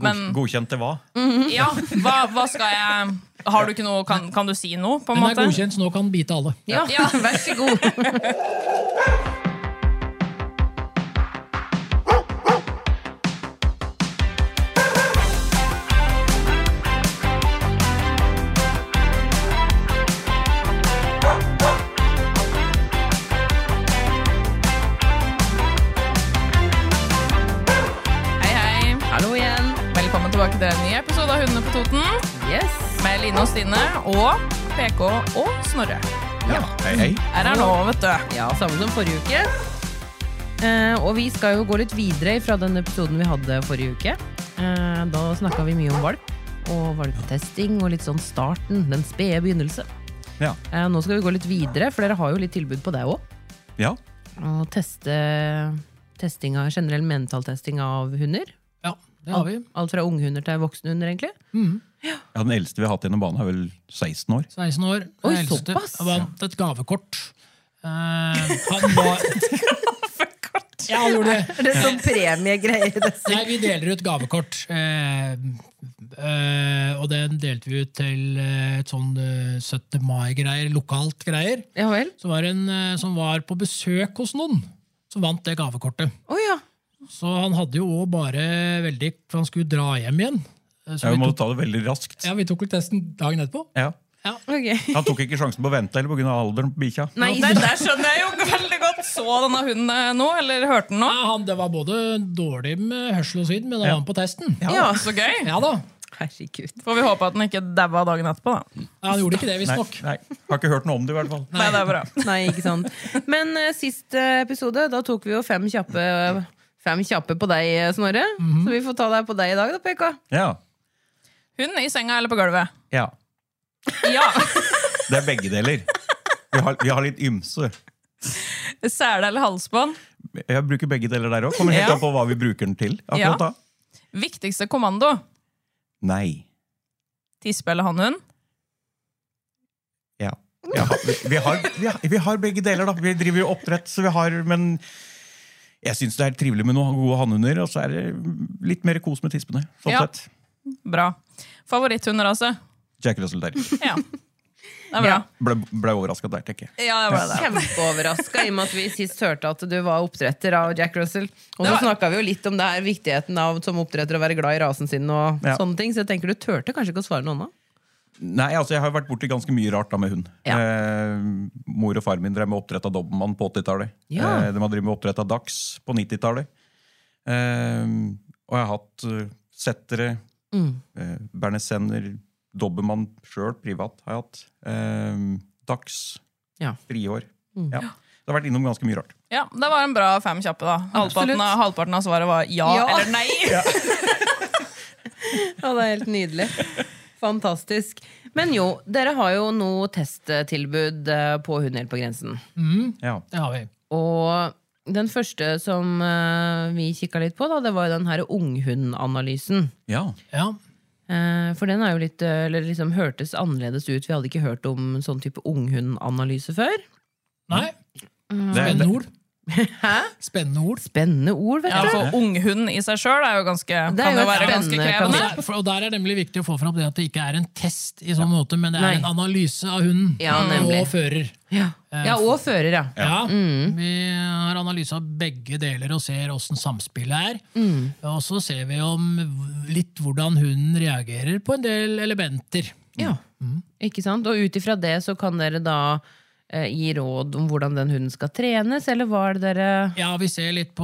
Men- Godkjent til hva? Ja, hva, hva skal jeg Har du ikke noe Kan, kan du si noe, på en Hun er måte? godkjent, så nå kan den bite alle. Ja, vær så god. Hei, hei. Hallo igjen. Velkommen tilbake til en ny episode av Hundene på Toten Yes. med Line og Stine og PK og Snorre. Ja. Hei, hei. Her er nå, vet du. Ja, samme som forrige uke. Eh, og vi skal jo gå litt videre fra den episoden vi hadde forrige uke. Eh, da snakka vi mye om valp og valpetesting og litt sånn starten, den spede begynnelse. Ja. Eh, nå skal vi gå litt videre, for dere har jo litt tilbud på deg òg. Ja. Å teste testing av, generell mentaltesting av hunder. Ja, det har vi. Alt fra unghunder til voksne hunder, egentlig. ja, Den eldste vi har hatt gjennom banen, er vel 16 år. 16 år. den Oi, eldste, såpass. Vant et gavekort. Eh, han var Ja, han gjorde det. Er det sånn premiegreie? Nei, vi deler ut gavekort. Eh, eh, og den delte vi ut til eh, et sånn eh, 17. mai-greier, lokalt greier. Ja vel? Så var det en eh, som var på besøk hos noen, som vant det gavekortet. Å ja. Så han hadde jo også bare veldig For han skulle dra hjem igjen. Eh, Så Ja, vi vi må tok, ta det veldig raskt. ja, vi tok vel testen dagen etterpå. Ja. Ok. Han tok ikke sjansen på å vente eller pga. alderen på bikkja. Nei, Der, der skjønner jeg jo veldig godt. Så denne hunden eh, nå, eller hørte den nå? Ja, han, det var både dårlig med hørsel og syn, men han var med på testen. Ja, Ja. Så gøy. da. Herregud. Får vi håpe at den ikke daua dagen etterpå, da. Ja, han gjorde ikke det, Nei, visstnok. nei, har ikke hørt noe om det, i hvert fall. Nei, det er bra. Nei, ikke sant. Men eh, sist eh, episode, da tok vi jo fem kjappe, fem kjappe på deg, eh, Snorre. Mhm. Så vi får ta deg på deg i dag, da, PK. Ja. Hund i senga eller på gulvet? ja. Ja. Det er begge deler. Vi har, vi har litt ymse. Sele eller halsbånd? Jeg bruker begge deler der òg. Kommer helt Ja. an på hva vi bruker den til. Ja. akkurat da. Viktigste kommando? Nei. Tispe eller hannhund? Ja. Ja, vi, vi, har, vi, har, vi har begge deler, da. Vi driver jo oppdrett, så vi har Men jeg syns det er trivelig med noen gode hannhunder, og så er det litt mer kos med tispene. Sånn Ja. sett. Bra. Favoritthundrase? Jack Russell der. Ja. Det er bra. Ble, ble overraska der, tenker jeg. Ja, det ble det. Kjempeoverraska i og med at vi sist hørte at du var oppdretter av Jack Russell. Og så Det var- snakka vi jo litt om det her viktigheten av som oppdretter å være glad i rasen sin og Ja. sånne ting, så jeg tenker du turte kanskje ikke å svare noe annet. Nei, altså Jeg har vært borti ganske mye rart da med hund. Ja. Eh, mor og far min drev med oppdrett av dobermann på 80-tallet. Ja. Eh, de har drevet med oppdrett av dachs på 90-tallet. Eh, og jeg har hatt eh, settere, Mm. eh, bernesenner, dobbermann sjøl, privat har jeg hatt. Eh, dachs, Ja. Mm. friår. Ja. Det har vært innom ganske mye rart. Ja, Det var en bra fem kjappe, da. Halvparten av, halvparten av svaret var ja, Ja. eller nei. Ja, det er helt nydelig. Fantastisk. Men jo, dere har jo noe testtilbud eh, på Hund helt på grensen. Ja. Det har vi. Og den første som eh, vi kikka litt på, da, det var jo den her unghundanalysen. ja. Ja. Eh, for den er jo litt, eh, eller liksom hørtes annerledes ut. Vi hadde ikke hørt om en sånn type unghundanalyse før. Nei, Mm. Det, er- spennende det, ord. Spennende ord. Spennende ord, vet Ja, du. for unghund i seg sjøl er jo ganske, Det er kan jo et jo være ganske spennende Og krevende. der, for, og der er det nemlig viktig å få fram det at det ikke er en test, i sånn måte, men det er Nei. en analyse av hunden Ja, nemlig. Mm. og fører. Ja. ja, og fører, Eh, ja. Ja, Vi har analyse av begge deler og ser åssen samspillet er. Mm. Og så ser vi om litt hvordan hunden reagerer på en del elementer. ja. Ikke sant? Og ut ifra det så kan dere da eh, gi råd om hvordan den hunden skal trenes, eller hva er det dere Ja, vi ser litt på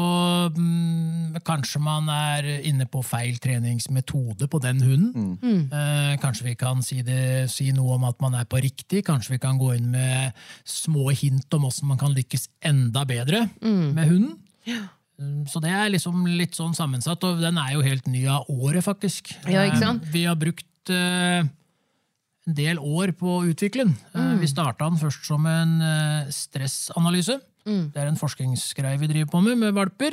mm, Kanskje man er inne på feil treningsmetode på den hunden. Mm. Eh, kanskje vi kan si, det, si noe om at man er på riktig. Kanskje vi kan gå inn Mm. med små hint om hvordan man kan lykkes enda bedre med hunden. Mm, Så det er liksom litt sånn sammensatt, og den er jo helt ny av året, faktisk. Ja, ikke sant? Eh, Vi har brukt eh, en del år på å utvikle den. Eh, Vi starta den først som en eh, stressanalyse. Det er en forskningsgreie vi driver på med, med valper.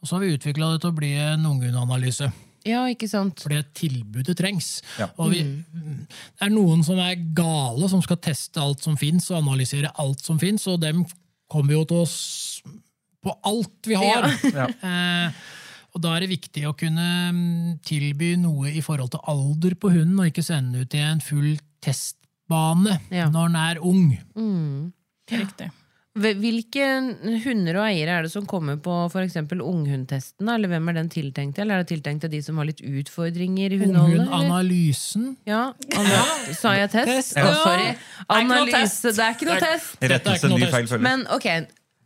Og så har vi utvikla det til å bli en ungehundanalyse. Ja, ikke sant? Fordi tilbudet trengs. Ja. Og vi, det er noen som er gale, som skal teste alt som fins, og analysere alt som fins, og dem kommer jo til oss på alt vi har. Ja. Eh, og da er det viktig å kunne mm, tilby noe i forhold til alder på hunden, og ikke sende den ut i en full testbane Ja. når den er ung. Riktig. Hve- Hvilke hunder og eiere er det som kommer på f.eks. unghundtesten? da? Eller hvem er den tiltenkt til? Eller er det tiltenkt til de som har litt utfordringer i hundeholdet? eller? Ungehundanalysen. Ja, ana- Sa jeg test? Ja. Å, sorry. ikke noe Analyse. Det er ikke noe test. Rettelse, noe ny test. feil følge. Men ok,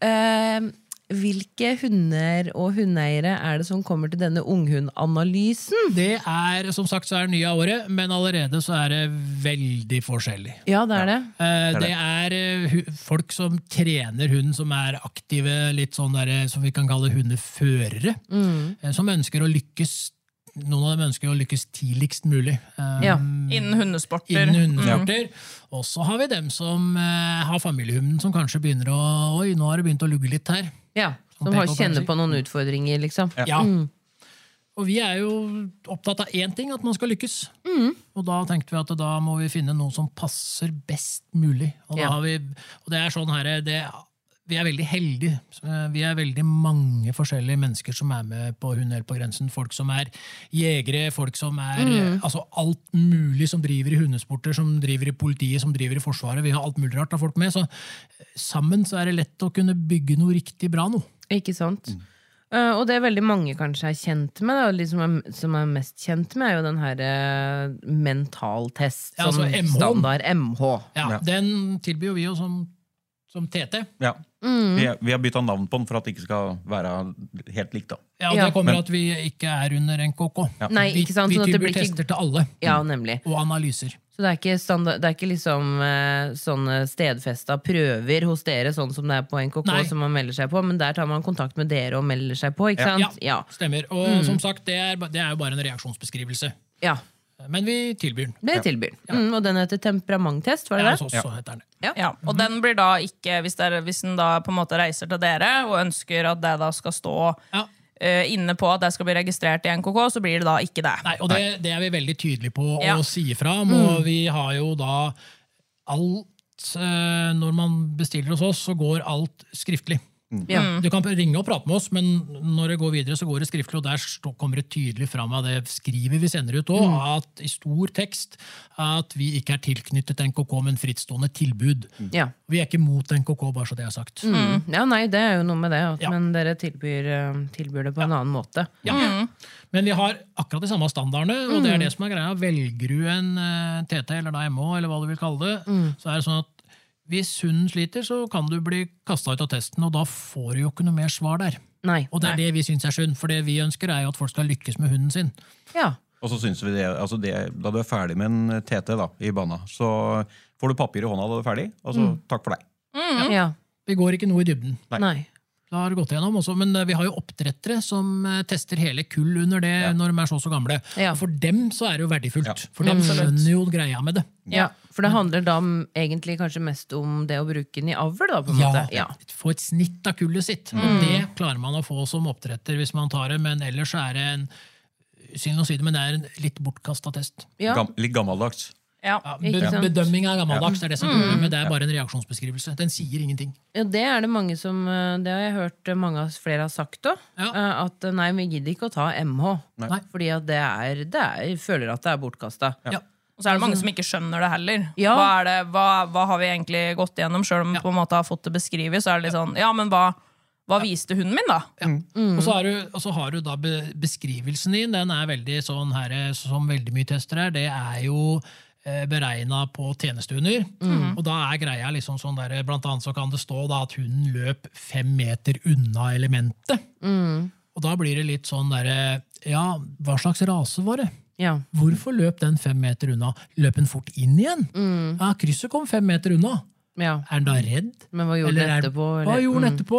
ehm, hvilke hunder og hundeeiere er det som kommer til denne unghundanalysen? Det er, som sagt, så er det nye av året, men allerede så er det veldig forskjellig. Ja, det er det. Eh, Det Det er eh, hu- folk som trener hund, som er aktive, litt sånn der, som vi kan kalle hundeførere. eh, Som ønsker å lykkes Noen av dem ønsker å lykkes tidligst mulig. eh, Ja. Innen hundesporter. Innen hundearter. Og så har vi dem som eh, har familiehunden, som kanskje begynner å Oi, nå har det begynt å lugge litt her. Ja, Som har kjenner på noen utfordringer, liksom. Ja. Og vi er jo opptatt av én ting, at man skal lykkes. Og da tenkte vi at da må vi finne noe som passer best mulig. Og, da Ja. har vi, og det er sånn her, det, vi er veldig heldige. Så Vi er veldig mange forskjellige mennesker som er med på Hund helt på grensen. Folk som er jegere, folk som er eh, altså alt mulig som driver i hundesporter, som driver i politiet, som driver i Forsvaret. Vi har alt mulig rart av folk med. Så eh, sammen så er det lett å kunne bygge noe riktig bra nå. Ikke sant? Eh, og det er veldig mange kanskje er kjent med, da. De som er, som er mest kjent med, er jo den her eh, mentaltest. Ja, altså som MH. standard MH. Ja, Ja. Den tilbyr jo vi jo som, som TT. Ja. Mm. Vi, vi har bytta navn på den for at det ikke skal være helt likt. da. Ja, Ja. Det kommer Men- at vi ikke er under NKK. Nei, ikke sant? Vi, Sånn at vi det tilbyr blir ikke- Sånn tester til alle, Ja, nemlig. og analyser. Så det er ikke, standard, det er ikke liksom eh, sånne stedfesta prøver hos dere, sånn som det er på NKK, Nei. som man melder seg på, men der tar man kontakt med dere og melder seg på, ikke Ja, sant? Ja. Mm. stemmer. Og som sagt, det er, ba- det er jo bare en reaksjonsbeskrivelse. ja. Men vi tilbyr den. Det tilbyr den. Mm, og den heter temperamenttest, var det Ja, det? så, så heter den. Ja, og den blir da ikke, hvis, det er, hvis den da på en måte reiser til dere og ønsker at det da skal stå Ja. eh, inne på at det skal bli registrert i NKK, så blir det da ikke det. Nei, og det, det er vi veldig tydelige på å Ja. si ifra om, og vi har jo da alt eh, Når man bestiller hos oss, så går alt skriftlig. Ja. Du kan ringe og prate med oss, men når det går videre, så går det skriftlig. Og der stå- kommer det tydelig fram av det skrivet vi sender ut òg, at i stor tekst at vi ikke er tilknyttet NKK, men frittstående tilbud. Ja. Vi er ikke mot NKK, bare så det er sagt. Mm. ja, nei, det er jo noe med det, at, Ja. men dere tilbyr, eh, tilbyr det på en annen måte. Ja. Men vi har akkurat de samme standardene, Mm. og det er det som er greia. Velger du en eh, TT eller da MH, eller hva du vil kalle det, Mm. så er det sånn at hvis hunden sliter, så kan du bli kasta ut av testen, og da får du jo ikke noe mer svar der. Nei. Og det er det vi syns er synd, for det vi ønsker er jo at folk skal lykkes med hunden sin. Ja. Og så synes vi det, altså det, Da du er ferdig med en TT da, i bana, så får du papir i hånda da du er ferdig, og så Mm. takk for deg. ja. Vi går ikke noe i dybden. Nei. Nei. Da har det gått igjennom også, Men eh, vi har jo oppdrettere som eh, tester hele kull under det når de er så og så gamle. Ja. For dem så er det jo verdifullt. Ja. For dem skjønner jo greia med det. Ja, for det handler da om, egentlig kanskje mest om det å bruke den i avl, da, på en måte. Ja. Mm. Få et snitt av kullet sitt. Og Det klarer man å få som oppdretter hvis man tar det, men ellers er det en synd å si det, men det er en litt bortkasta test. Ja. Gam, litt gammeldags. Ja. Ja, be Ikke sant. Mm. bedømming er gammeldags, det er det som er problemet. Det er bare en reaksjonsbeskrivelse. Den sier ingenting. Ja, det er det mange som eh, Det har jeg hørt eh, mange av flere har sagt òg. Ja. At eh, nei, vi gidder ikke å ta MH. Nei. Fordi at det er, det er føler at det er bortkasta. Ja. Og så er det mange som ikke skjønner det heller. Altså- Ja. Hva, er det, hva, hva har vi egentlig gått gjennom? Selv om vi på en måte har fått det beskrevet, så er det litt sånn Ja, men hva, hva viste hunden min, da? Og, så har du, og så har du da be, beskrivelsen din, den er veldig sånn her, eh, som veldig mye tester er, det er jo beregna på tjenestehunder. Og da er greia liksom sånn der, blant annet så kan det stå da at hunden løp fem meter unna elementet. Og da blir det litt sånn derre Ja, hva slags rase var det? Ja. Hvorfor løp den fem meter unna? Løp den fort inn igjen? Ja, krysset kom fem meter unna. Ja. Er han da redd? Men hva gjorde Eller den er- etterpå? Hva eller? gjorde han Mm. etterpå?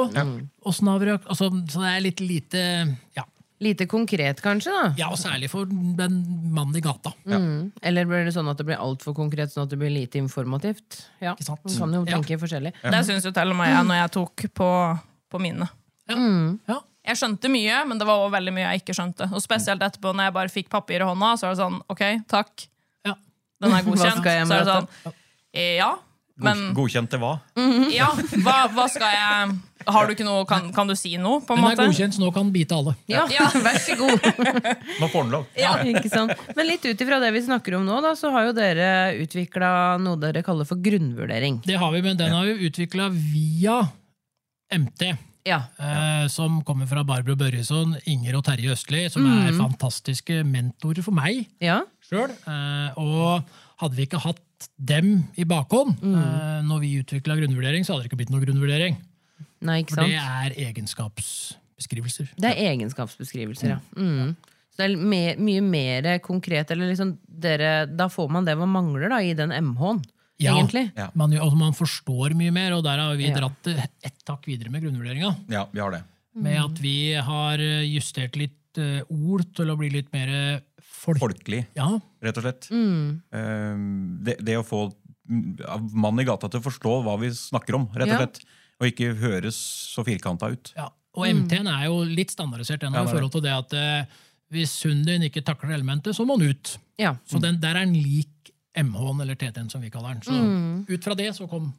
Åssen har vi reak- altså, Så det er litt lite ja. Lite konkret, kanskje? da ja, og særlig for den mannen i gata. Mm. Eller blir det sånn at det blir altfor konkret, sånn at det blir lite informativt? Ja, Ikke sant? Man kan jo Ja. tenke forskjellig. Det syns jo til og med jeg når jeg tok på, på mine. Mm. Ja. Jeg skjønte mye, men det var også veldig mye jeg ikke skjønte. Og spesielt etterpå, når jeg bare fikk papir i hånda, så er det sånn OK, takk, Ja. den er Hva godkjent. skal jeg Så er med det sånn eh, Ja, men God- Godkjent til hva? ja, hva, hva skal jeg Har du ikke noe Kan, kan du si noe, på en Den er måte? godkjent, så nå kan den bite alle. Ja, vær så god! Nå får den lov. Ja, ikke sant? Men litt ut ifra det vi snakker om nå, da, så har jo dere utvikla noe dere kaller for grunnvurdering. Det har vi, men den har vi utvikla via MT. Ja. Eh, som kommer fra Barbro Børjesson, Inger og Terje Østli, som er Mm. fantastiske mentorer for meg Ja, sjøl. Eh, og hadde vi ikke hatt dem i bakhånd Mm. eh, når vi utvikla grunnvurdering, så hadde det ikke blitt noe grunnvurdering. Nei, ikke For det sant? er egenskapsbeskrivelser. Det er egenskapsbeskrivelser, ja. Mm. Så det er mer, mye mer konkret. Eller liksom dere, da får man det man mangler da, i den MH-en, Ja. egentlig. Ja. Man, gjør- og man forstår mye mer, og der har vi Ja. dratt det ett takk videre med grunnvurderinga. Ja, vi har det. Mm. Med at vi har eh, justert litt eh, ord til å bli litt mer eh, folk... Folkelig, Ja, rett og slett. Mm. Eh, det, det å få mm, mannen i gata til å forstå hva vi snakker om, rett og Ja. slett. Og ikke høres så firkanta ut. Ja, og Mm. MT-en er jo litt standardisert ennå Ja, det i er forhold til det at eh, hvis hunden ikke takler elementet, så må den ut. Ja. Mm. Så den, der er den lik MH-en, eller TT-en som vi kaller den. Så Mm. ut fra det så kom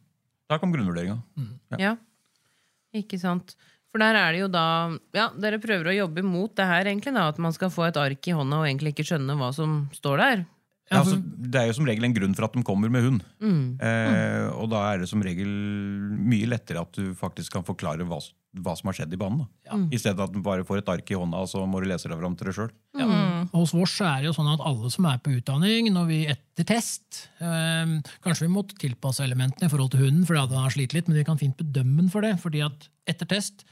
Der kom grunnvurderinga. Ja, ikke sant. For der er det jo da Ja, dere prøver å jobbe mot det her, egentlig, da. At man skal få et ark i hånda og egentlig ikke skjønne hva som står der. Ja, altså, det er jo som regel en grunn for at de kommer med hund. Eh, og da er det som regel mye lettere at du faktisk kan forklare hva, s- hva som har skjedd i banen. Da. I stedet for at du bare får et ark i hånda, og så må du lese deg fram til det sjøl. Hos vårs så er det jo sånn at alle som er på utdanning, når vi etter test eh, Kanskje vi måtte tilpasse elementene i forhold til hunden, fordi at den har slitt litt, men vi kan fint bedømme den for det. fordi at etter test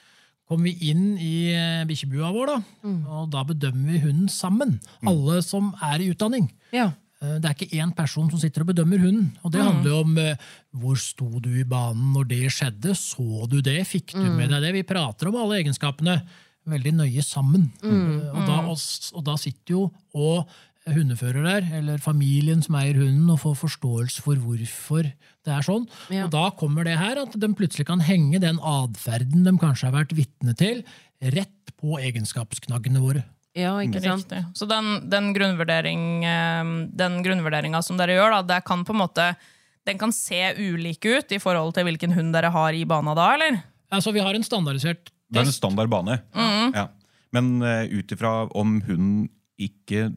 kom vi inn i eh, bikkjebua vår, da, og da bedømmer vi hunden sammen. Alle som er i utdanning. Ja. Eh, Det er ikke én person som sitter og bedømmer hunden. Og det handler jo om eh, hvor sto du i banen når det skjedde? Så du det? Fikk du med deg det? Vi prater om alle egenskapene veldig nøye sammen. Eh, Og, da, og, s- og da sitter jo og hundefører der, eller familien som eier hunden, og får forståelse for hvorfor det er sånn. Ja. Og da kommer det her at de plutselig kan henge den atferden de kanskje har vært vitne til, rett på egenskapsknaggene våre. Ja, ikke sant. Riktig. Så den, den, grunnvurdering, eh, den grunnvurderinga som dere gjør, da, det kan på en måte den kan se ulik ut i forhold til hvilken hund dere har i bana da, eller? Altså, vi har en standardisert Det er en standard bane. Ja. Men uh, ut ifra om hunden ikke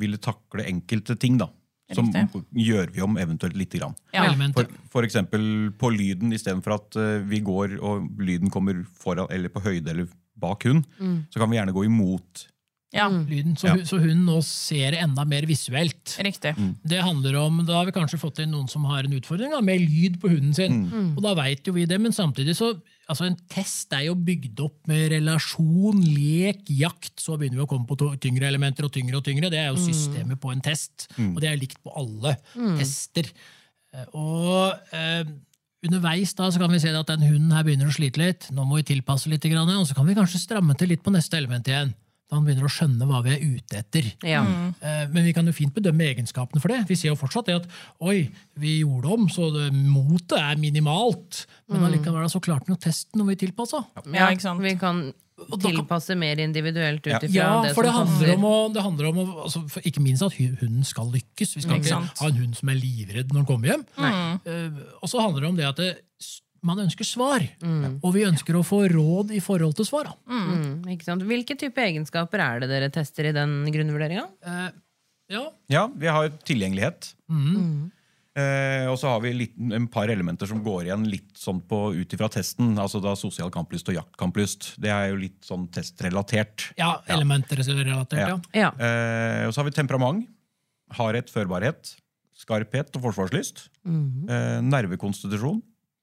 ville takle enkelte ting, da, så Riktig. gjør vi om eventuelt lite grann. Ja. element. For, for eksempel på lyden, istedenfor at eh, vi går og lyden kommer foran, eller på høyde eller bak hund, så kan vi gjerne gå imot. Ja, Mm. lyden, så, Ja. hun, så hun nå ser det enda mer visuelt. riktig. Mm. Det handler om, Da har vi kanskje fått inn noen som har en utfordring da, med lyd på hunden sin. Og da vet jo vi det, men samtidig så altså En test er jo bygd opp med relasjon, lek, jakt. Så begynner vi å komme på to- tyngre elementer og tyngre og tyngre. Det er jo systemet på en test, og det er likt på alle tester. Eh, Og eh, underveis da så kan vi se at den hunden her begynner å slite litt. Nå må vi tilpasse litt, grann, og så kan vi kanskje stramme til litt på neste element igjen. Da han begynner å skjønne hva vi er ute etter. Ja. Eh, Men vi kan jo fint bedømme egenskapene for det. Vi ser jo fortsatt det at oi, vi gjorde om, så det- motet er minimalt. Men allikevel så klarte vi jo testen, og vi tilpassa. Ja, ikke sant. Vi kan tilpasse mer individuelt ut ifra Ja, det for det som handler passer. om, å, det handler om å, altså, for ikke minst at hu- hunden skal lykkes. Vi skal Ikke ikke sant. ha en hund som er livredd når den kommer hjem. Eh, Og så handler det om det at det, s- man ønsker svar, og vi ønsker å få råd i forhold til svara. Mm, ikke sant? Hvilke type egenskaper er det dere tester i den grunnvurderinga? Eh, Ja, Ja, vi har tilgjengelighet. Mm. Eh, og så har vi litt, en par elementer som går igjen litt sånn på ut ifra testen. altså da Sosial kamplyst og jaktkamplyst. Det er jo litt sånn testrelatert. ja elementer relatert, ja. Ja. Ja. Eh, og så har vi temperament. Hardhet, førbarhet. Skarphet og forsvarslyst. Mm. eh, nervekonstitusjon.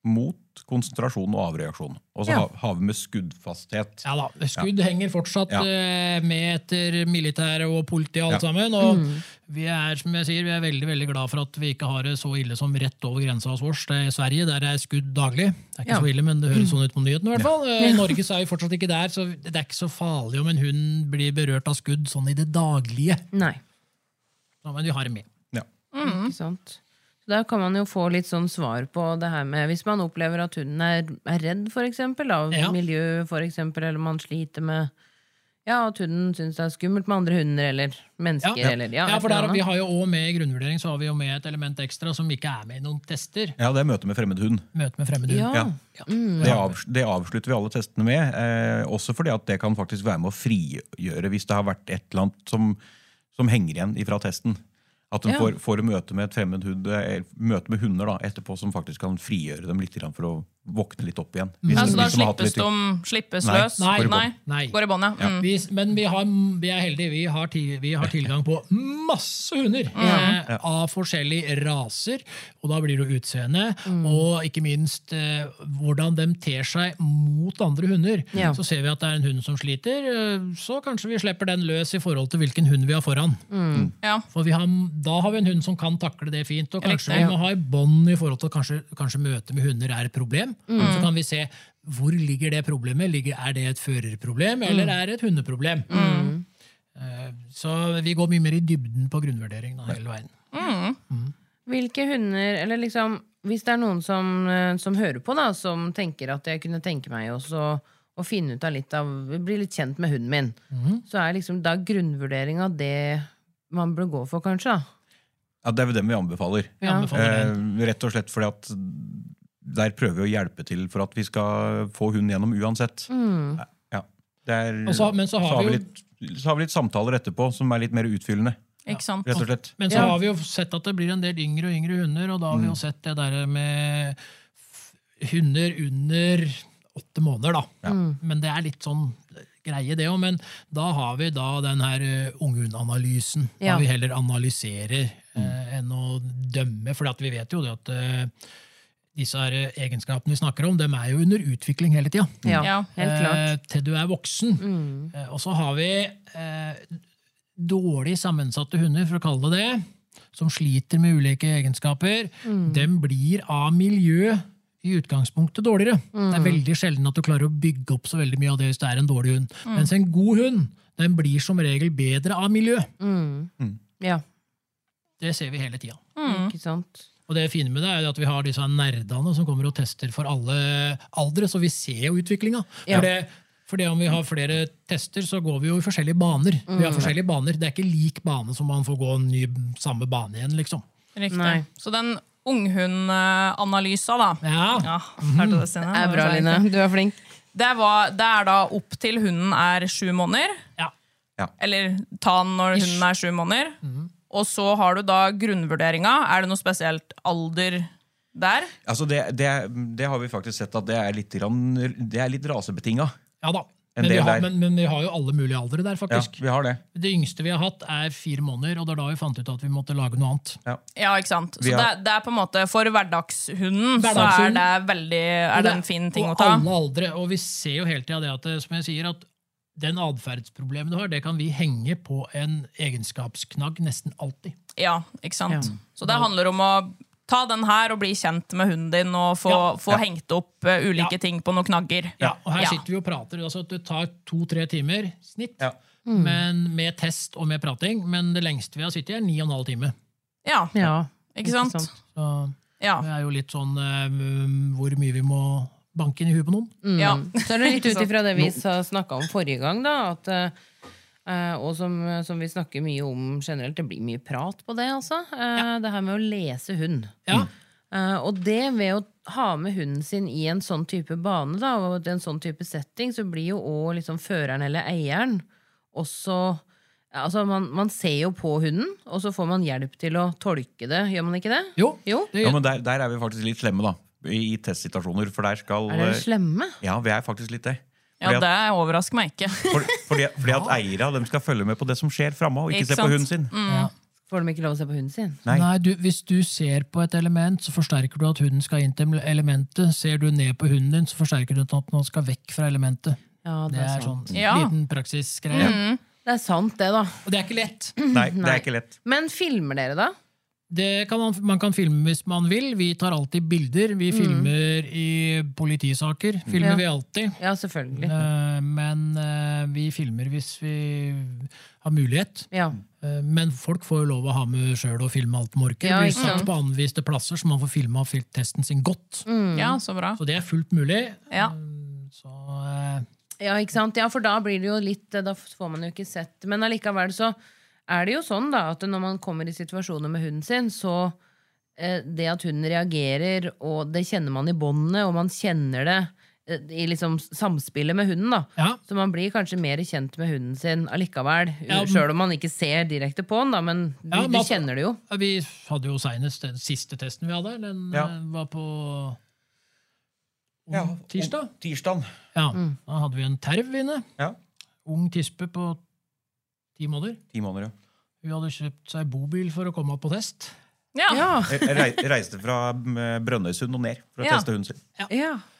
Mot, konsentrasjon og avreaksjon. Og så har, har vi med skuddfasthet. Ja da, Skudd henger fortsatt Ja. eh, med etter militæret og politiet, alt Ja. sammen. Og Vi er som jeg sier, vi er veldig veldig glad for at vi ikke har det så ille som rett over grensa hos oss. Det er Sverige, der er skudd daglig. Det er ikke Ja. så ille, men det høres sånn ut på nyhetene. I hvert fall. Eh, I Norge så er vi fortsatt ikke der, så det er ikke så farlig om en hund blir berørt av skudd sånn i det daglige. Nei. Ja, men vi har det med. Ja. Ikke sant? Så der kan man jo få litt sånn svar på det her med Hvis man opplever at hunden er, er redd, for eksempel, av Ja. miljø, for eksempel, eller man sliter med Ja, at hunden syns det er skummelt med andre hunder eller mennesker eller ja, for et der, eller vi annet. har jo også med I grunnvurdering så har vi jo med et element ekstra som ikke er med i noen tester. Ja, det er møte med fremmed hund. Møte med fremmed hund. ja. Ah, Ja. Mm. Det, avs det avslutter vi alle testene med. Eh, også fordi at det kan faktisk være med å frigjøre hvis det har vært et eller annet som, som henger igjen fra testen. At de Ja. får, får møte med et fremmed hund, eh, møte med hunder da, etterpå som faktisk kan frigjøre dem litt grann for å våkne litt opp igjen. Hvis, Altså, da hvis de har hatt litt- slippes de slippes Nei. løs? Nei. Nei. Nei. Går i bånd, ja. Mm. Vi, men vi, har, vi er heldige. Vi har, ti, vi har tilgang på masse hunder eh, av forskjellige raser. Og da blir det jo utseende, og ikke minst eh, hvordan de ter seg mot andre hunder. Ja. Så ser vi at det er en hund som sliter, eh, så kanskje vi slipper den løs i forhold til hvilken hund vi har foran. ja. For vi har, da har vi en hund som kan takle det fint. Og kanskje Riktig. vi må ha i bånd i forhold til at kanskje, kanskje møte med hunder er et problem. Så kan vi se hvor ligger det problemet. Ligger, er det et førerproblem, eller er det et hundeproblem? Eh, Så vi går mye mer i dybden på grunnvurderingen av hele veien. Hvilke hunder Eller liksom Hvis det er noen som, eh, som hører på, da, som tenker at jeg kunne tenke meg også å finne ut av litt av Bli litt kjent med hunden min, så er liksom da grunnvurderinga det man bør gå for, kanskje? da Ja, det er jo dem vi anbefaler. Vi Ja. anbefaler den. Eh, rett og slett fordi at der prøver vi å hjelpe til for at vi skal få hund gjennom uansett. Mm. Ja. Det er, Og så- men så har vi jo- litt, så har vi litt samtaler etterpå som er litt mer utfyllende. Ikke sant? rett og slett. Men så Ja. har vi jo sett at det blir en del yngre og yngre hunder, og da har vi jo sett det der med f- hunder under åtte måneder, da. Mm. Men det er litt sånn greie, det òg. Men da har vi da den her eh, unghundanalysen. Da Ja. vi heller analyserer eh, enn å dømme, for vi vet jo det at eh, disse her eh, egenskapene vi snakker om, dem er jo under utvikling hele tida. Ja, Ja. helt klart. Mm. Eh, til du er voksen. Eh, og så har vi eh, dårlig sammensatte hunder, for å kalle det det, som sliter med ulike egenskaper. Mm. Dem blir av miljø i utgangspunktet dårligere. Mm. Det er veldig sjelden at du klarer å bygge opp så veldig mye av det hvis det er en dårlig hund. Mm. Mens en god hund den blir som regel bedre av miljø. Mm. Ja, Det ser vi hele tida. ikke sant? Og det fine med det er jo at vi har disse nerdene som kommer og tester for alle aldre, så vi ser jo utviklinga. Ja. For, det, for det om vi har flere tester, så går vi jo i forskjellige baner. Vi Mm. har forskjellige baner. Det er ikke lik bane som man får gå en ny, samme bane igjen, liksom. Riktig. Nei. Så den unghundanalysa, da. Ja. Ja, hørte du det, Stine? Det er bra, var så Line. Du er flink. Det, var, det er da opp til hunden er sju måneder. Ja. Eller ta den når hunden er sju måneder. Mhm. Og så har du da grunnvurderinga. Er det noe spesielt alder der? Altså det, det, det har vi faktisk sett at det er litt, grann, det er litt rasebetinga. ja da. En Men vi, del har, der. men, men vi har jo alle mulige aldre der, Ja, faktisk. vi har det. Det yngste vi har hatt, er fire måneder, og det er da vi fant ut at vi måtte lage noe annet. Ja, ikke sant? Så Vi har- det, det er på en måte For hverdagshunden, Hverdagshunden. så er det veldig Er det en fin ting å ta. Og alle aldre, og vi ser jo hele tida det at eh, som jeg sier, at den atferdsproblemet du har, det kan vi henge på en egenskapsknagg nesten alltid. Ja, ikke sant? Ja. Så det handler om å ta den her og bli kjent med hunden din og få, Ja. få hengt opp eh, ulike Ja. ting på noen knagger. Og her Ja. sitter vi og prater. altså at Det tar to-tre timer snitt, Ja. Mm. men med test og med prating. Men det lengste vi har sittet, er ni og en halv time. Ja, Ja, ikke sant? Så Ja. det er jo litt sånn eh, mm, hvor mye vi må banke inn i huet på noen. ja. Så er det litt Ikke ut sant? ifra det vi snakka om forrige gang, da. At, eh, og som, som vi snakker mye om generelt. Det blir mye prat på det, altså. Eh, Det her med å lese hund. Ja, Eh, og det ved å ha med hunden sin i en sånn type bane, da, og en sånn type setting, så blir jo òg liksom føreren eller eieren også ja, Altså, man, man ser jo på hunden, og så får man hjelp til å tolke det. Gjør man ikke det? jo. Jo. Det, Ja, men der, der er vi faktisk litt slemme, da. I, i testsituasjoner. For der skal Er dere slemme? Ja, vi er faktisk litt det. ja, Fordi at, det overrasker meg ikke. for, fordi, fordi at eiere de skal følge med på det som skjer framme, og Ikke ikke se på sant? hunden sin. Mm. Får de ikke lov å se på hunden sin? Nei. Nei, du, Hvis du ser på et element, så forsterker du at hunden skal inn til elementet. Ser du ned på hunden din, så forsterker du at den skal vekk fra elementet. Ja, Det er sånn Ja. liten praksisgreie. Det er sant, det, da. Og det er ikke lett. Nei, det Nei. er ikke lett. Men filmer dere, da? Det kan man, man kan filme hvis man vil. Vi tar alltid bilder. Vi filmer i politisaker. Mm. Ja. Filmer vi alltid. Ja, selvfølgelig. Eh, men eh, vi filmer hvis vi har mulighet. Ja. Eh, men folk får jo lov å ha med sjøl og filme alt man orker. Ja, Vi ikke satt sant. Mm. på anviste plasser, så man får filma testen sin godt. Ja, så bra. Så det er fullt mulig. Ja. Så eh, ja, ikke sant? Ja, for da blir det jo litt eh, Da får man jo ikke sett Men allikevel så er det jo sånn, da, at når man kommer i situasjoner med hunden sin, så eh, Det at hunden reagerer, og det kjenner man i båndene, og man kjenner det eh, i liksom samspillet med hunden, da. ja. Så man blir kanskje mer kjent med hunden sin allikevel. Ja, men- Sjøl om man ikke ser direkte på den, da, men du, Ja, altså- du man- kjenner det jo. Ja, Vi hadde jo senest den siste testen vi hadde. Den Ja. eh, var på Ja, om tirsdag. og- Tirsdag. Ja, Da hadde vi en terv inne. Ja. Ung tispe på ti måneder. Ti måneder, ja. Hun hadde kjøpt seg bobil for å komme opp på test. Ja. Jeg rei- reiste fra mm, Brønnøysund og ned for å Ja. teste hunden sin. Ja.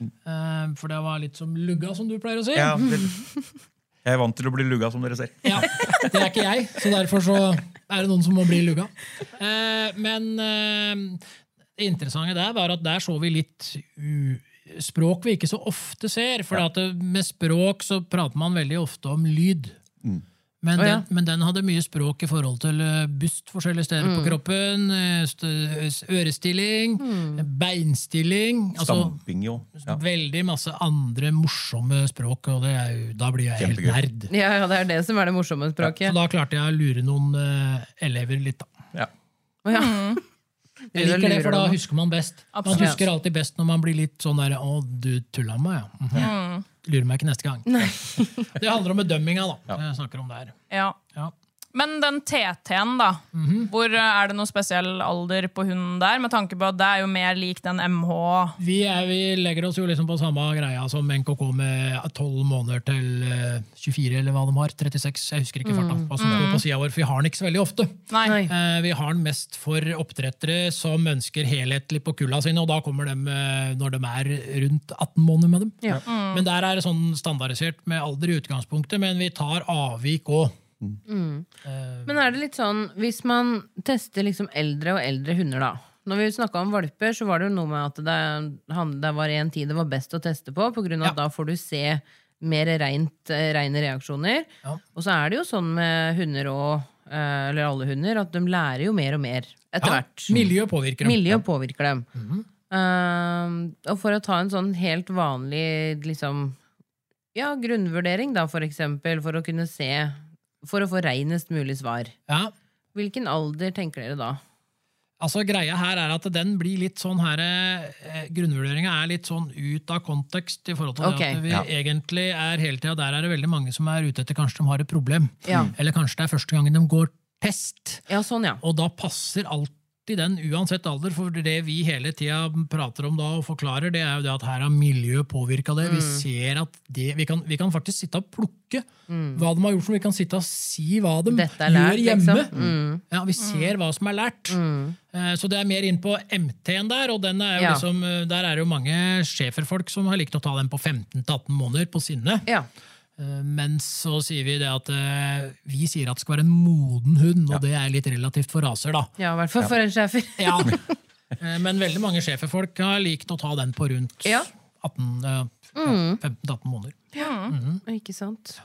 Eh, For det var litt som lugga, som du pleier å si. Ja, vel. jeg er vant til å bli lugga, som dere ser. Ja, Det er ikke jeg, så derfor så er det noen som må bli lugga. Eh, Men eh, det interessante der var at der så vi litt u språk vi ikke så ofte ser. For at det- med språk så prater man veldig ofte om lyd. Mm. Men, Å, ja. den, men den hadde mye språk i forhold til eh, bust forskjellige steder Mm. på kroppen, eh, st- ørestilling, Mm. beinstilling altså, Stamping, jo. Ja. Veldig masse andre morsomme språk, og det er jo, da blir jeg helt Kjempegøy. nerd. Ja, ja, det er det som er det morsomme Så språket. da klarte jeg å lure noen eh, elever litt, da. Ja. Å, ja. Jeg liker det, for da husker man best. Absolutt. Man husker alltid best når man blir litt sånn der Å, du tulla med meg, ja. Mhm. Lurer meg ikke neste gang. det handler om bedømminga, da. Jeg snakker om det her. ja. Ja. Men den TT-en, da. Mhm. Hvor eh, Er det noe spesiell alder på hunden der? Med tanke på at det er jo mer lik den MH. Vi, er, vi legger oss jo liksom på samme greia som NKK med 12 måneder til eh, 24, eller hva de har. 36, jeg husker ikke farta. Hva som står på siden vår, for vi har den ikke så veldig ofte. Nei. Nei. Eh, Vi har den mest for oppdrettere som ønsker helhetlig på kulla sine, og da kommer de eh, når de er rundt 18 måneder med dem. Ja. Mm. Men der er det sånn standardisert med alder i utgangspunktet, men vi tar avvik òg. Men er det litt sånn, hvis man tester liksom eldre og eldre hunder da Når vi snakket om valper, så var det jo noe med at det, han- det var en tid det var best å teste på, på grunn av at da får du se mer rent, eh, reine reaksjoner. Ja. Og så er det jo sånn med hunder og, eh, eller alle hunder, at de lærer jo mer og mer etter hvert. Miljø Mhm. påvirker dem. Miljøet påvirker dem. Eh, og for å ta en sånn helt vanlig liksom, ja, grunnvurdering, da, for eksempel, for å kunne se For å få reinest mulig svar. Ja. Hvilken alder tenker dere da? Altså Greia her er at den blir litt sånn her eh, Grunnvurderinga er litt sånn ut av kontekst i forhold til Ok. det at vi Ja. egentlig er hele tida Der er det veldig mange som er ute etter kanskje de har et problem. Ja. Eller kanskje det er første gangen de går test. Ja, sånn, ja. Og da passer alltid den, uansett alder. For det vi hele tida prater om da og forklarer, det er jo det at her har miljøet påvirka det. Vi Mm. ser at det, vi, kan, vi kan faktisk sitte og plukke hva de har gjort, for vi kan sitte og si hva de Mm. Dette er lært, gjør hjemme. liksom. Mm. Ja, Vi ser hva som er lært. Eh, Så det er mer inn på MT-en der, og den er jo Ja. liksom, eh, der er det jo mange schæferfolk som har likt å ta den på 15-18 måneder på sinne. Ja, Eh, Men så sier vi det at eh, vi sier at det skal være en moden hund, og det er litt relativt for raser, da. ja i hvert fall for en schæfer. Ja. Eh, Men veldig mange sjefefolk har likt å ta den på rundt Ja. 18, eh, ja, Mm. 15-18 måneder. Ikke sant?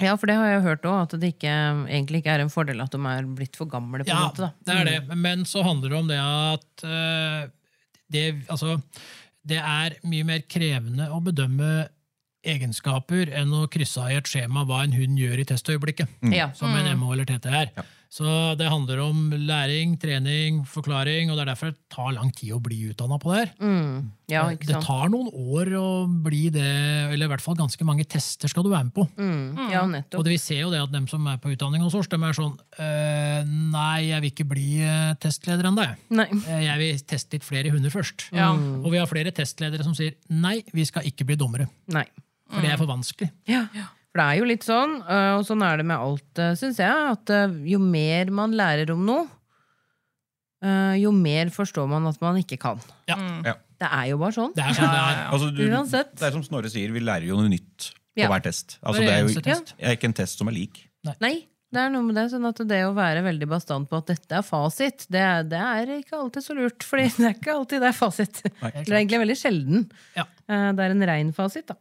Ja, for det har jeg hørt òg, at det ikke, egentlig ikke er en fordel at de er blitt for gamle. på en Ja, måte da. Mm. det er det. Men så handler det om det at eh, det, altså, det er mye mer krevende å bedømme egenskaper enn å krysse av i et skjema hva en hund gjør i testøyeblikket. Ja. Mm. som en MH eller TT er. Så det handler om læring, trening, forklaring, og det er derfor det tar lang tid å bli utdanna på det her. ja, ikke det sant? tar noen år å bli det, eller i hvert fall ganske mange tester skal du være med på. Mm. Ja, Og nettopp. det, vi ser jo det at dem som er på utdanning hos oss, dem er sånn «Øh, Nei, jeg vil ikke bli eh, testleder ennå, jeg. Nei. Eh, Jeg vil teste litt flere hunder først. Ja. Og vi har flere testledere som sier nei, vi skal ikke bli dommere. Nei. For det er for vanskelig. Ja. For det er jo litt sånn, øh, og sånn er det med alt, syns jeg, at øh, jo mer man lærer om noe, øh, jo mer forstår man at man ikke kan. Ja. Ja. Det er jo bare sånn. Det er sånn det er. Altså, du, Uansett. det er som Snorre sier, vi lærer jo noe nytt på Ja. hver test. Altså, Hver det er jo eneste test. det er ikke en test som er lik. Nei. Nei, det er noe med det. Sånn at det å være veldig bastant på at dette er fasit, det, er- det er ikke alltid så lurt. Fordi det er ikke alltid det er fasit. Nei. Eller det er egentlig veldig sjelden. Ja. Eh, Det er en rein fasit, da.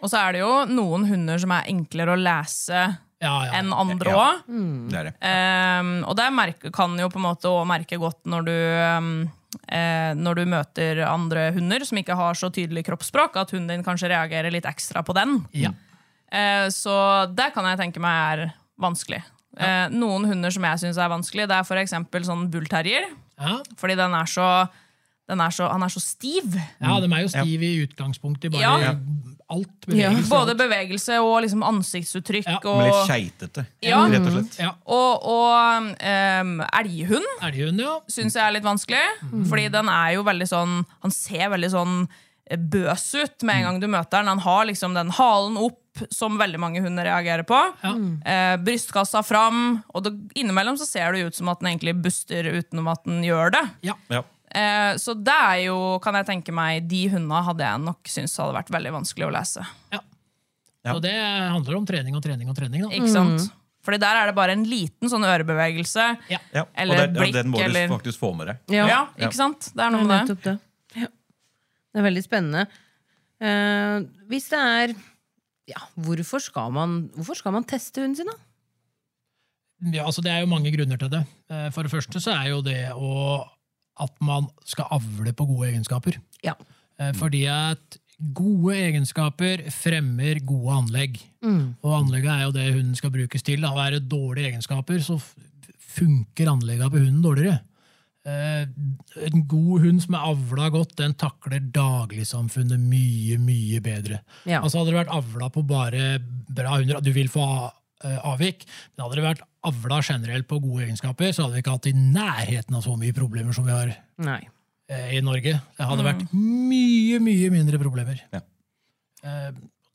Og så er det jo noen hunder som er enklere å lese Ja, ja. enn andre Ja. òg. Det er det. Ehm, og det merke, kan jo på en måte også merke godt når du, ehm, eh, når du møter andre hunder som ikke har så tydelig kroppsspråk, at hunden din kanskje reagerer litt ekstra på den. Ja. Eh, så det kan jeg tenke meg er vanskelig. Eh, noen hunder som jeg syns er vanskelig, det er for eksempel sånn bullterrier. Ja. Fordi den er så, den er så, han er så stiv. ja, de er jo stive i utgangspunktet. Bare Ja. alt bevegelse. Både bevegelse og liksom ansiktsuttrykk. Ja, Men litt og, keitete, Ja. rett og slett. Ja. og, og ehm, elghund. Elghund, ja. syns jeg er litt vanskelig. Fordi den er jo veldig sånn Han ser veldig sånn eh, bøs ut med en gang du møter den. Han har liksom den halen opp, som veldig mange hunder reagerer på. Ja. Eh, brystkassa fram. Og det, innimellom så ser det ut som at den egentlig buster utenom at den gjør det. ja. Ja. Eh, så det er jo, kan jeg tenke meg, de hundene hadde jeg nok syntes hadde vært veldig vanskelig å lese. ja. Ja. Så det handler om trening og trening og trening. Da. Ikke sant? Fordi der er det bare en liten sånn ørebevegelse. Ja. Ja. Eller og det, blikk, ja, den må eller- du faktisk få med deg. Ja, Ja. ikke sant? Det er noe Det er med det. nettopp det. Ja. Det er veldig spennende. Eh, hvis det er ja, hvorfor, skal man, hvorfor skal man teste hunden sin, da? Ja, altså Det er jo mange grunner til det. Eh, For det første så er jo det å, at man skal avle på gode egenskaper. Ja. Eh, Fordi at gode egenskaper fremmer gode anlegg. Og anlegget er jo det hunden skal brukes til. Da. Og er det dårlige egenskaper, så f- funker anleggene på hunden dårligere. Eh, En god hund som er avla godt, den takler dagligsamfunnet mye, mye bedre. Ja. Altså Hadde det vært avla på bare bra hunder, du vil få eh, avvik, men hadde det vært avla generelt på gode egenskaper, så hadde vi ikke hatt i nærheten av så mye problemer som vi har Nei. eh, i Norge. Det Mm. hadde vært mye, mye mindre problemer. Ja. Eh,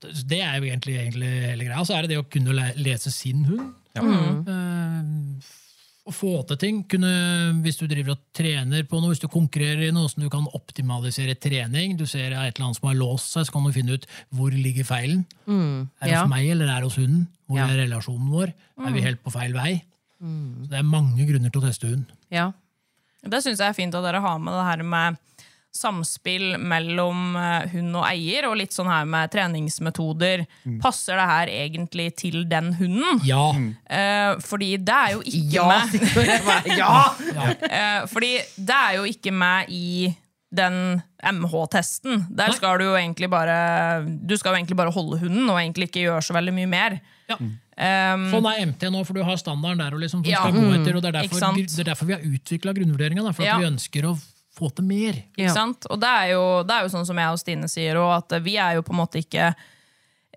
Det er jo egentlig, egentlig hele greia. Så er det det å kunne le- lese sin hund. Ja. Mm. Mm. Eh, Å få til ting. Kunne, hvis du driver og trener på noe, hvis du konkurrerer i noe, så du kan optimalisere trening. Du ser et eller annet som har låst seg, så kan du finne ut hvor ligger feilen. Er det Mm. Ja. hos meg, eller er det hos hunden? Hvor Ja. Mm. er relasjonen vår? Er vi helt på feil vei? Så det er mange grunner til å teste hund. Ja. Det syns jeg er fint at dere har med det her med samspill mellom eh, hund og eier, og litt sånn her med treningsmetoder. Passer det her egentlig til den hunden? Ja! Eh, fordi det er jo ikke med eh, Fordi det er jo ikke med i den MH-testen. Der skal du jo egentlig bare Du skal jo egentlig bare holde hunden og egentlig ikke gjøre så veldig mye mer. ja. Mm. Um, Sånn er MT nå, for du har standarden der. Og liksom, for du Ja. skal gå etter, og det, er Ikke derfor, sant? det er derfor vi har utvikla grunnvurderinga. For at Ja. vi ønsker å få til mer. Ja. Ikke sant? Og det er, jo, det er jo sånn som jeg og Stine sier òg, at vi er jo på en måte ikke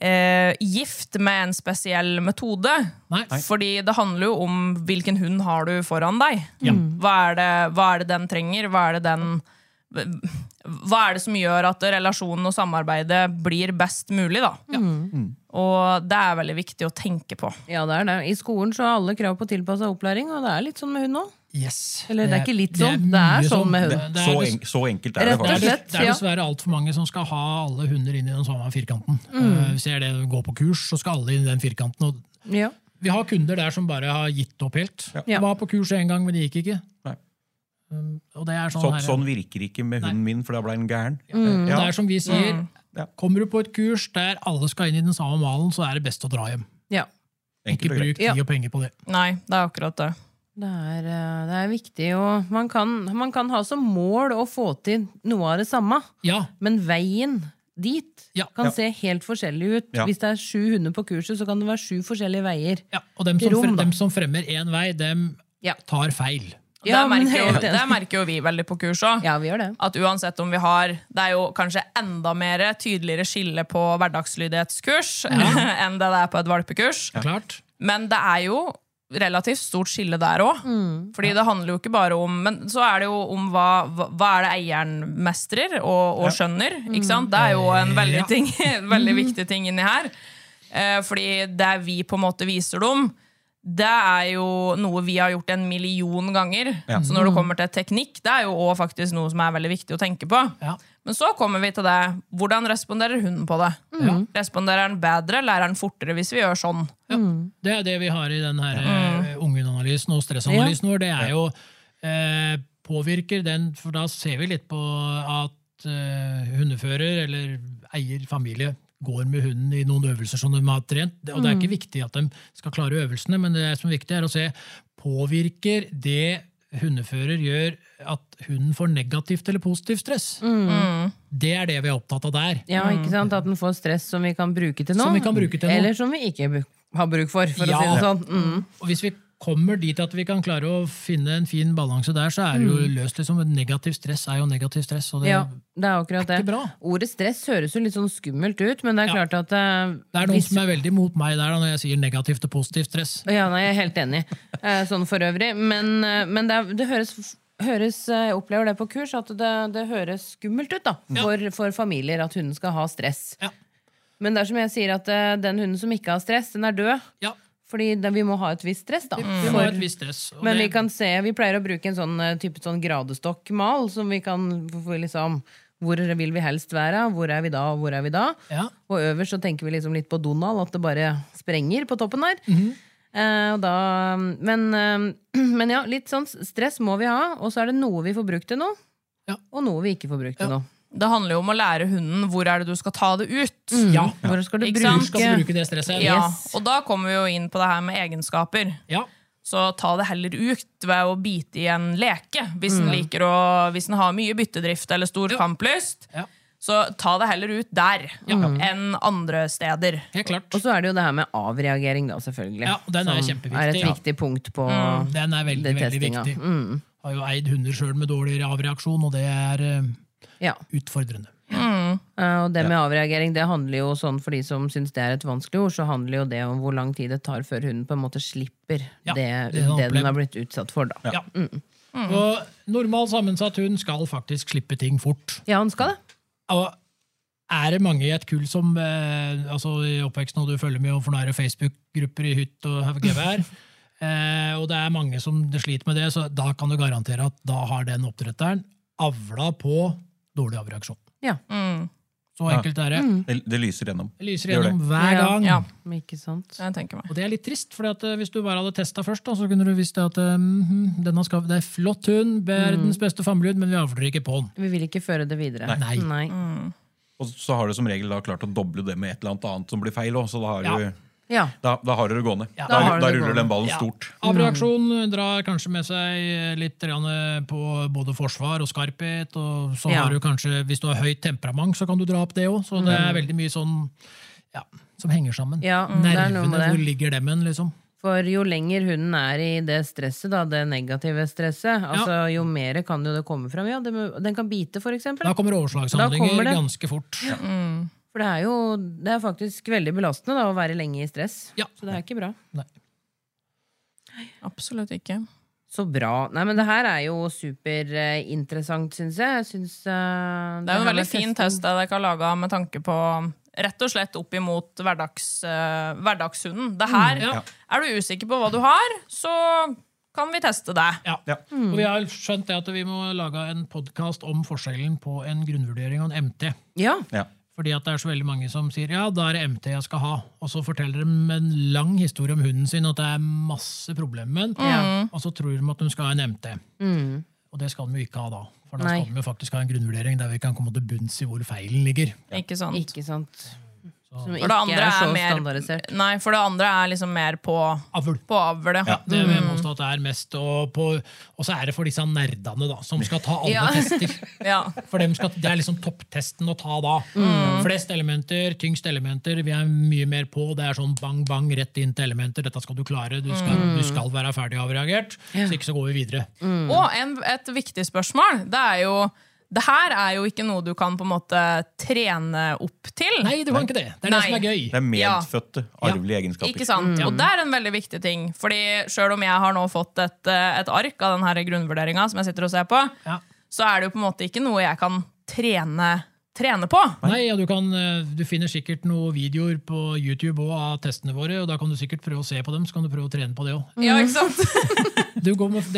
eh, gift med en spesiell metode. Nei. Fordi det handler jo om hvilken hund har du foran deg. Hva, er det, hva er det den trenger? Hva er det den hva er det som gjør at relasjonen og samarbeidet blir best mulig, da? Og det er veldig viktig å tenke på. Ja, det er det. I skolen så har alle krav på tilpassa opplæring, og det er litt sånn med hund òg. Yes. Eller det er ikke litt sånn, det er mye sånn med Det- hund. det er Så, dess- en, så enkelt er det Rett og det er, faktisk. slett. dess- det er ja. dessverre altfor mange som skal ha alle hunder inn i den samme firkanten. Mm. Eh, Vi ser det når vi går på kurs, så skal alle inn i den firkanten. Og Ja. vi har kunder der som bare har gitt opp helt. Ja. Var på kurs én gang, men det gikk ikke. Nei. Um, Og det er sånn, Sånn, her, sånn virker ikke med hunden min, for da ble den gæren. Ja. Mm. Det er sånn som vi sier, Mm. Ja. kommer du på et kurs der alle skal inn i den samme malen, så er det best å dra hjem. ja. Enkelt Ikke og greit. bruk tid Ja. og penger på det. Nei, det er akkurat det. Det er, eh, det er viktig, og man kan, man kan ha som mål å få til noe av det samme, Ja, men veien dit Ja. kan Ja. se helt forskjellig ut. Ja. Hvis det er sju hunder på kurset, så kan det være sju forskjellige veier. ja. og dem som, Rom, fre- da. dem som fremmer én vei, dem Ja. tar feil. Ja, det, men merker jo, helt det enig. merker jo vi veldig på kurs òg. Ja, vi gjør det. At uansett om vi har Det er jo kanskje enda mer tydeligere skille på hverdagslydighetskurs enn det det er på et valpekurs. Det er Klart. Men det er jo relativt stort skille der òg. Fordi det handler jo ikke bare om Men så er det jo om hva, hva hva er det eieren mestrer og, og skjønner. Ikke sant? Det er jo en veldig, Ja. ting, veldig viktig ting inni her. Eh, fordi det vi på en måte viser dem, det er jo noe vi har gjort en million ganger. Så når det kommer til teknikk, det er jo også faktisk noe som er veldig viktig å tenke på. Ja. Men så kommer vi til det. Hvordan responderer hunden på det? Responderer den bedre, lærer den fortere hvis vi gjør sånn? Det er det vi har i den her eh, ungehundanalysen og stressanalysen vår. Det er jo eh, påvirker den, for da ser vi litt på at eh, hundefører eller eier familie går med hunden i noen øvelser som de har trent. Og det er ikke viktig at de skal klare øvelsene, men det som er viktig, er å se påvirker det hundefører gjør at hunden får negativt eller positivt stress. Det er det vi er opptatt av der. Ja, ikke sant? At den får stress som vi kan bruke til noe. Mm. Som vi kan bruke til noe. Eller som vi ikke bu- har bruk for, for Ja. å si det sånn. Mm. Og hvis vi kommer dit at vi kan klare å finne en fin balanse der, så er det jo løst. liksom. Negativ stress er jo negativ stress. Og Mm. det, Ja, det er akkurat det. ikke bra. Ordet stress høres jo litt sånn skummelt ut, men det er Ja. klart at eh, det er noen hvis- som er veldig mot meg der da, når jeg sier negativt og positivt stress. Ja, nei, jeg er helt enig. eh, Sånn for øvrig. Men, eh, men det, er, det høres, høres eh, Jeg opplever det på kurs, at det, det høres skummelt ut da, for, for familier at hunden skal ha stress. Ja. Men det er som jeg sier, at eh, den hunden som ikke har stress, den er død. Ja, Fordi den- vi må ha et visst stress, da. Mm. vi må ha et visst stress. og Men det- vi kan se, vi pleier å bruke en sånn eh, type sånn gradestokkmal, som vi kan få liksom Hvor vil vi helst være? Hvor er vi da, og hvor er vi da? Ja. Og øverst så tenker vi liksom litt på Donald, at det bare sprenger på toppen der. Mhm. Eh, og da, men, eh, men ja, litt sånn stress må vi ha, og så er det noe vi får brukt til noe, Ja. og noe vi ikke får brukt til noe. Det handler jo om å lære hunden hvor er det du skal ta det ut. Ja, Hvor skal du Ikke bruke sant? du skal bruke det stresset. Ja, og da kommer vi jo inn på det her med egenskaper. Ja. Så ta det heller ut ved å bite i en leke, hvis den liker å, hvis den har mye byttedrift eller stor kamplyst. Ja. Så ta det heller ut der enn andre steder. Helt klart. Og så er det jo det her med avreagering, da, selvfølgelig. Ja, den er som kjempeviktig. Er et Ja. Mm. viktig punkt på Den er veldig, Det Mm. veldig testinga. viktig. Har jo eid hunder sjøl med dårligere avreaksjon, og det er eh, ja. utfordrende. Eh, Og det med avreagering, det handler jo sånn for de som syns det er et vanskelig ord, så handler jo det om hvor lang tid det tar før hunden på en måte slipper Ja, det, det det, har den opplevd. har blitt utsatt for, da. Ja, Ja. Mm. Og normal sammensatt hund skal faktisk slippe ting fort. han skal det. Og er det mange i et kull som eh, altså i oppveksten, og du følger med, og for nå er det Facebook-grupper i hytt og haug og gevær, eh, og det er mange som sliter med det, så da kan du garantere at da har den oppdretteren avla på dårlig avreaksjon. Ja, Så enkelt er det. Det, det lyser gjennom. Det lyser Det gjør gjennom hver Mm. Ja. gang. Ja, men ikke sant. jeg tenker meg. Og det er litt trist, for hvis du bare hadde testa først, da, så kunne du visst det at eh, mhm, denne skal, det er flott hund, Mm. verdens beste familiehund, men vi avler ikke på den. Vi vil ikke føre det videre. Nei. Og så har du som regel da klart å doble det med et eller annet annet som blir feil også, så da har, Ja. du, Ja. da, da har du det gående. Ja. Da, Da har du da det ruller gående. den ballen Ja. stort. Avreaksjon drar kanskje med seg litt grann på både forsvar og skarphet. Og så Ja. har du kanskje, hvis du har høyt temperament, så kan du dra opp det òg. Så det er veldig mye sånn ja, som henger sammen. Mm. Ja, mm, det er noe med Nervene, det. hvor ligger dem hen, liksom? For jo lenger hunden er i det stresset, da, det negative stresset, altså jo mer kan jo det komme fram. Ja, det, må- den kan bite, for eksempel. Da kommer Da kommer overslagshandlinger det. Mm. ganske fort. Ja. For det er jo det er faktisk veldig belastende da, å være lenge i stress. Ja. Så det er ikke bra. Nei. Absolutt ikke. Så bra. Nei, men det her er jo superinteressant, syns jeg. jeg synes, eh, Det er jo her en veldig med fin testing- test jeg dere har laga med tanke på Rett og slett opp imot hverdags, eh, hverdagshunden. Det her, Er du usikker på hva du har, så kan vi teste deg. Ja. Ja. Mm. Og vi har skjønt det at vi må lage en podkast om forskjellen på en grunnvurdering og en MT. Ja. Ja. Fordi at det er så veldig mange som sier ja, da er det MT jeg skal ha. Og så forteller de en lang historie om hunden sin, at det er masse problemer med den. Og så tror de at de skal ha en MT. Og det skal de jo ikke ha da. For da Mm. Nei. skal de jo faktisk ha en grunnvurdering der vi kan komme til bunns i hvor feilen ligger. Ikke sant? Ikke sant. Som For ikke det andre er så er mer, standardisert. nei, for det andre er liksom mer på, Avl. på avle. Ja, det vil jeg Mm. påstå at det er mest. Og, på, og så er det for disse nerdene da, som skal ta alle Ja. tester. Ja. For dem skal, Det er liksom topptesten å ta da. Flest elementer, tyngst elementer. Vi er mye mer på. Det er sånn bang, bang, rett inn til elementer. Dette skal du klare. Du skal, du skal være ferdig avreagert. Så ikke så går vi videre. Mm. Og en, et viktig spørsmål, det er jo det her er jo ikke noe du kan på en måte trene opp til. Nei, det var ikke det. Det er Nei. det som er gøy. Det er medfødte arvelige egenskaper. Ikke sant? Mm. Og det er en veldig viktig ting. Fordi selv om jeg har nå fått et, eh, et ark av denne grunnvurderinga som jeg sitter og ser på, Ja. så er det jo på en måte ikke noe jeg kan trene trene på. Nei, ja, du, kan, eh, du finner sikkert noen videoer på YouTube også av testene våre, og da kan du sikkert prøve å se på dem, så kan du prøve å trene på det òg. Ja, Mm. ikke sant? Det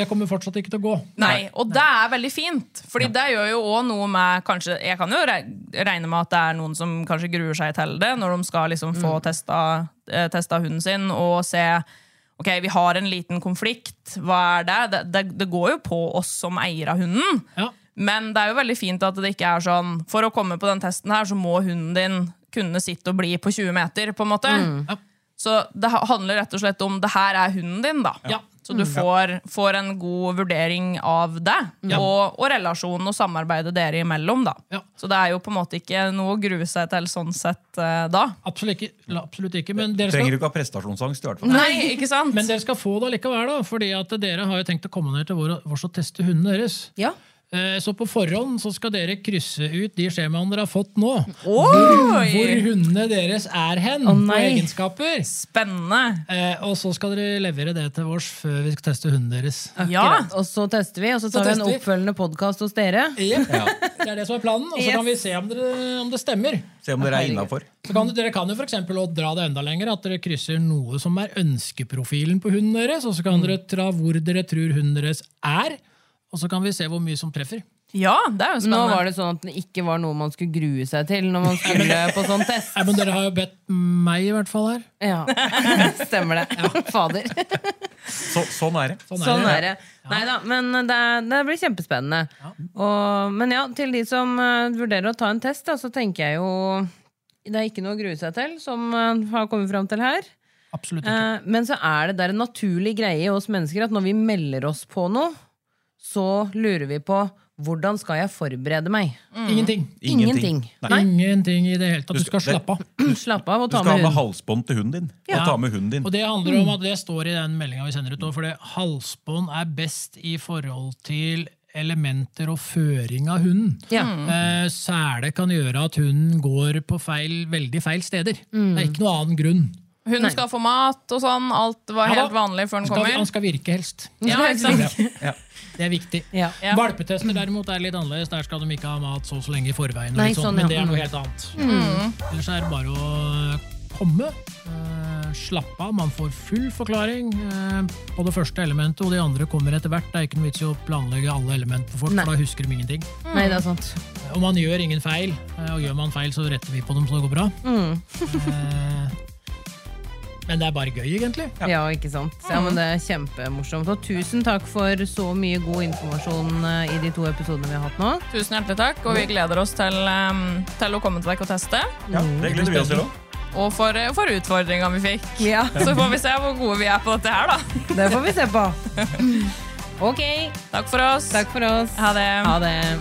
kommer fortsatt ikke til å gå. Nei, og det er veldig fint. Fordi det gjør jo òg noe med kanskje, Jeg kan jo re- regne med at det er noen som kanskje gruer seg til det, når de skal liksom få testa, eh, testa hunden sin og se Ok, vi har en liten konflikt. Hva er det? Det, det, det går jo på oss som eier av hunden. Ja. Men det er jo veldig fint at det ikke er sånn For å komme på den testen her, så må hunden din kunne sitte og bli på 20 meter, på en måte. Ja. Så det ha- handler rett og slett om det her er hunden din, da. Ja. Så du får, får en god vurdering av det, og, og relasjonen og samarbeidet dere imellom, da. Ja. Så det er jo på en måte ikke noe å grue seg til sånn sett eh, da. Absolutt ikke. la- Absolutt ikke. Men dere Trenger skal, du ikke ha prestasjonsangst, i hvert fall. Nei, ikke sant? men dere skal få det allikevel, da, fordi at dere har jo tenkt å komme ned til vår vår og teste hundene deres. Ja. Eh, Så på forhånd så skal dere krysse ut de skjemaene dere har fått nå. Oi! Hvor hundene deres er hen, Å, på nei. egenskaper. Spennende. Eh, Og så skal dere levere det til oss før vi skal teste hunden deres. Ja. Akkurat. Og så tester vi, og så Så tar vi en tester vi. oppfølgende podkast hos dere. Ja. Det er det som er planen, og så kan vi se om, dere, om det stemmer. Se om dere er innafor. Så kan, dere kan jo for eksempel også dra det enda lenger, at dere krysser noe som er ønskeprofilen på hunden deres, og så kan dere dra hvor dere tror hunden deres er, og så kan vi se hvor mye som treffer. ja, det er Nå jo spennende. var det sånn at det ikke var noe man skulle grue seg til når man skulle på sånn test. Nei, men dere har jo bedt meg i hvert fall her. Ja, Stemmer det. Fader. Så, sånn er det. Sånn er det. Neida, men det, er- det blir kjempespennende. Og, men ja, til de som eh, vurderer å ta en test, da, så tenker jeg jo Det er ikke noe å grue seg til, som eh, har kommet fram til her. Absolutt ikke. Eh, men så er det der en naturlig greie i oss mennesker at når vi melder oss på noe, så lurer vi på hvordan skal jeg forberede meg? Ingenting. Ingenting. Nei. Ingenting i det hele tatt. Du skal skal- slappe av. Slapp av og Du ta skal ha med med hunden. halsbånd til hunden din. Og ta med hunden din. Og det handler om at det står i den meldinga vi sender ut òg, for det- halsbånd er best i forhold til elementer og føring av hunden. Ja. Eh, Sele kan gjøre at hunden går på feil, veldig feil steder. Det er ikke noen annen grunn. Hun skal få mat og sånn. Alt var Ja da. helt vanlig før den Skal, han kommer. skal virke helst. Ja, ikke sant? Det er viktig. Ja. Ja. Valpetester derimot er litt annerledes. Der skal de ikke ha mat så og så lenge i forveien. Og Nei, litt sånt, sånn, ja. Men det er Mm. noe helt annet. Ellers er det bare å komme. eh, Slappe av. Man får full forklaring eh, på det første elementet, og de andre kommer etter hvert. Det er ikke noe vits i å planlegge alle element for folk, Nei. for da husker de ingenting. Nei, det er sant. Og man gjør ingen feil. eh, Og gjør man feil, så retter vi på dem, så det går bra. Mm. Eh, Men det er bare gøy, egentlig. Ja, ikke sant? Ja, men det er kjempemorsomt. Og tusen takk for så mye god informasjon eh, i de to episodene vi har hatt nå. Tusen hjertelig takk, og Mm. vi gleder oss til, em, til å komme til deg og teste. Ja, det gleder vi oss til òg. Og for, for utfordringa vi fikk. Ja, Så får vi se hvor gode vi er på dette her, da. det får vi se på. Ok, Takk for oss. takk for oss. Ha det. Ha det.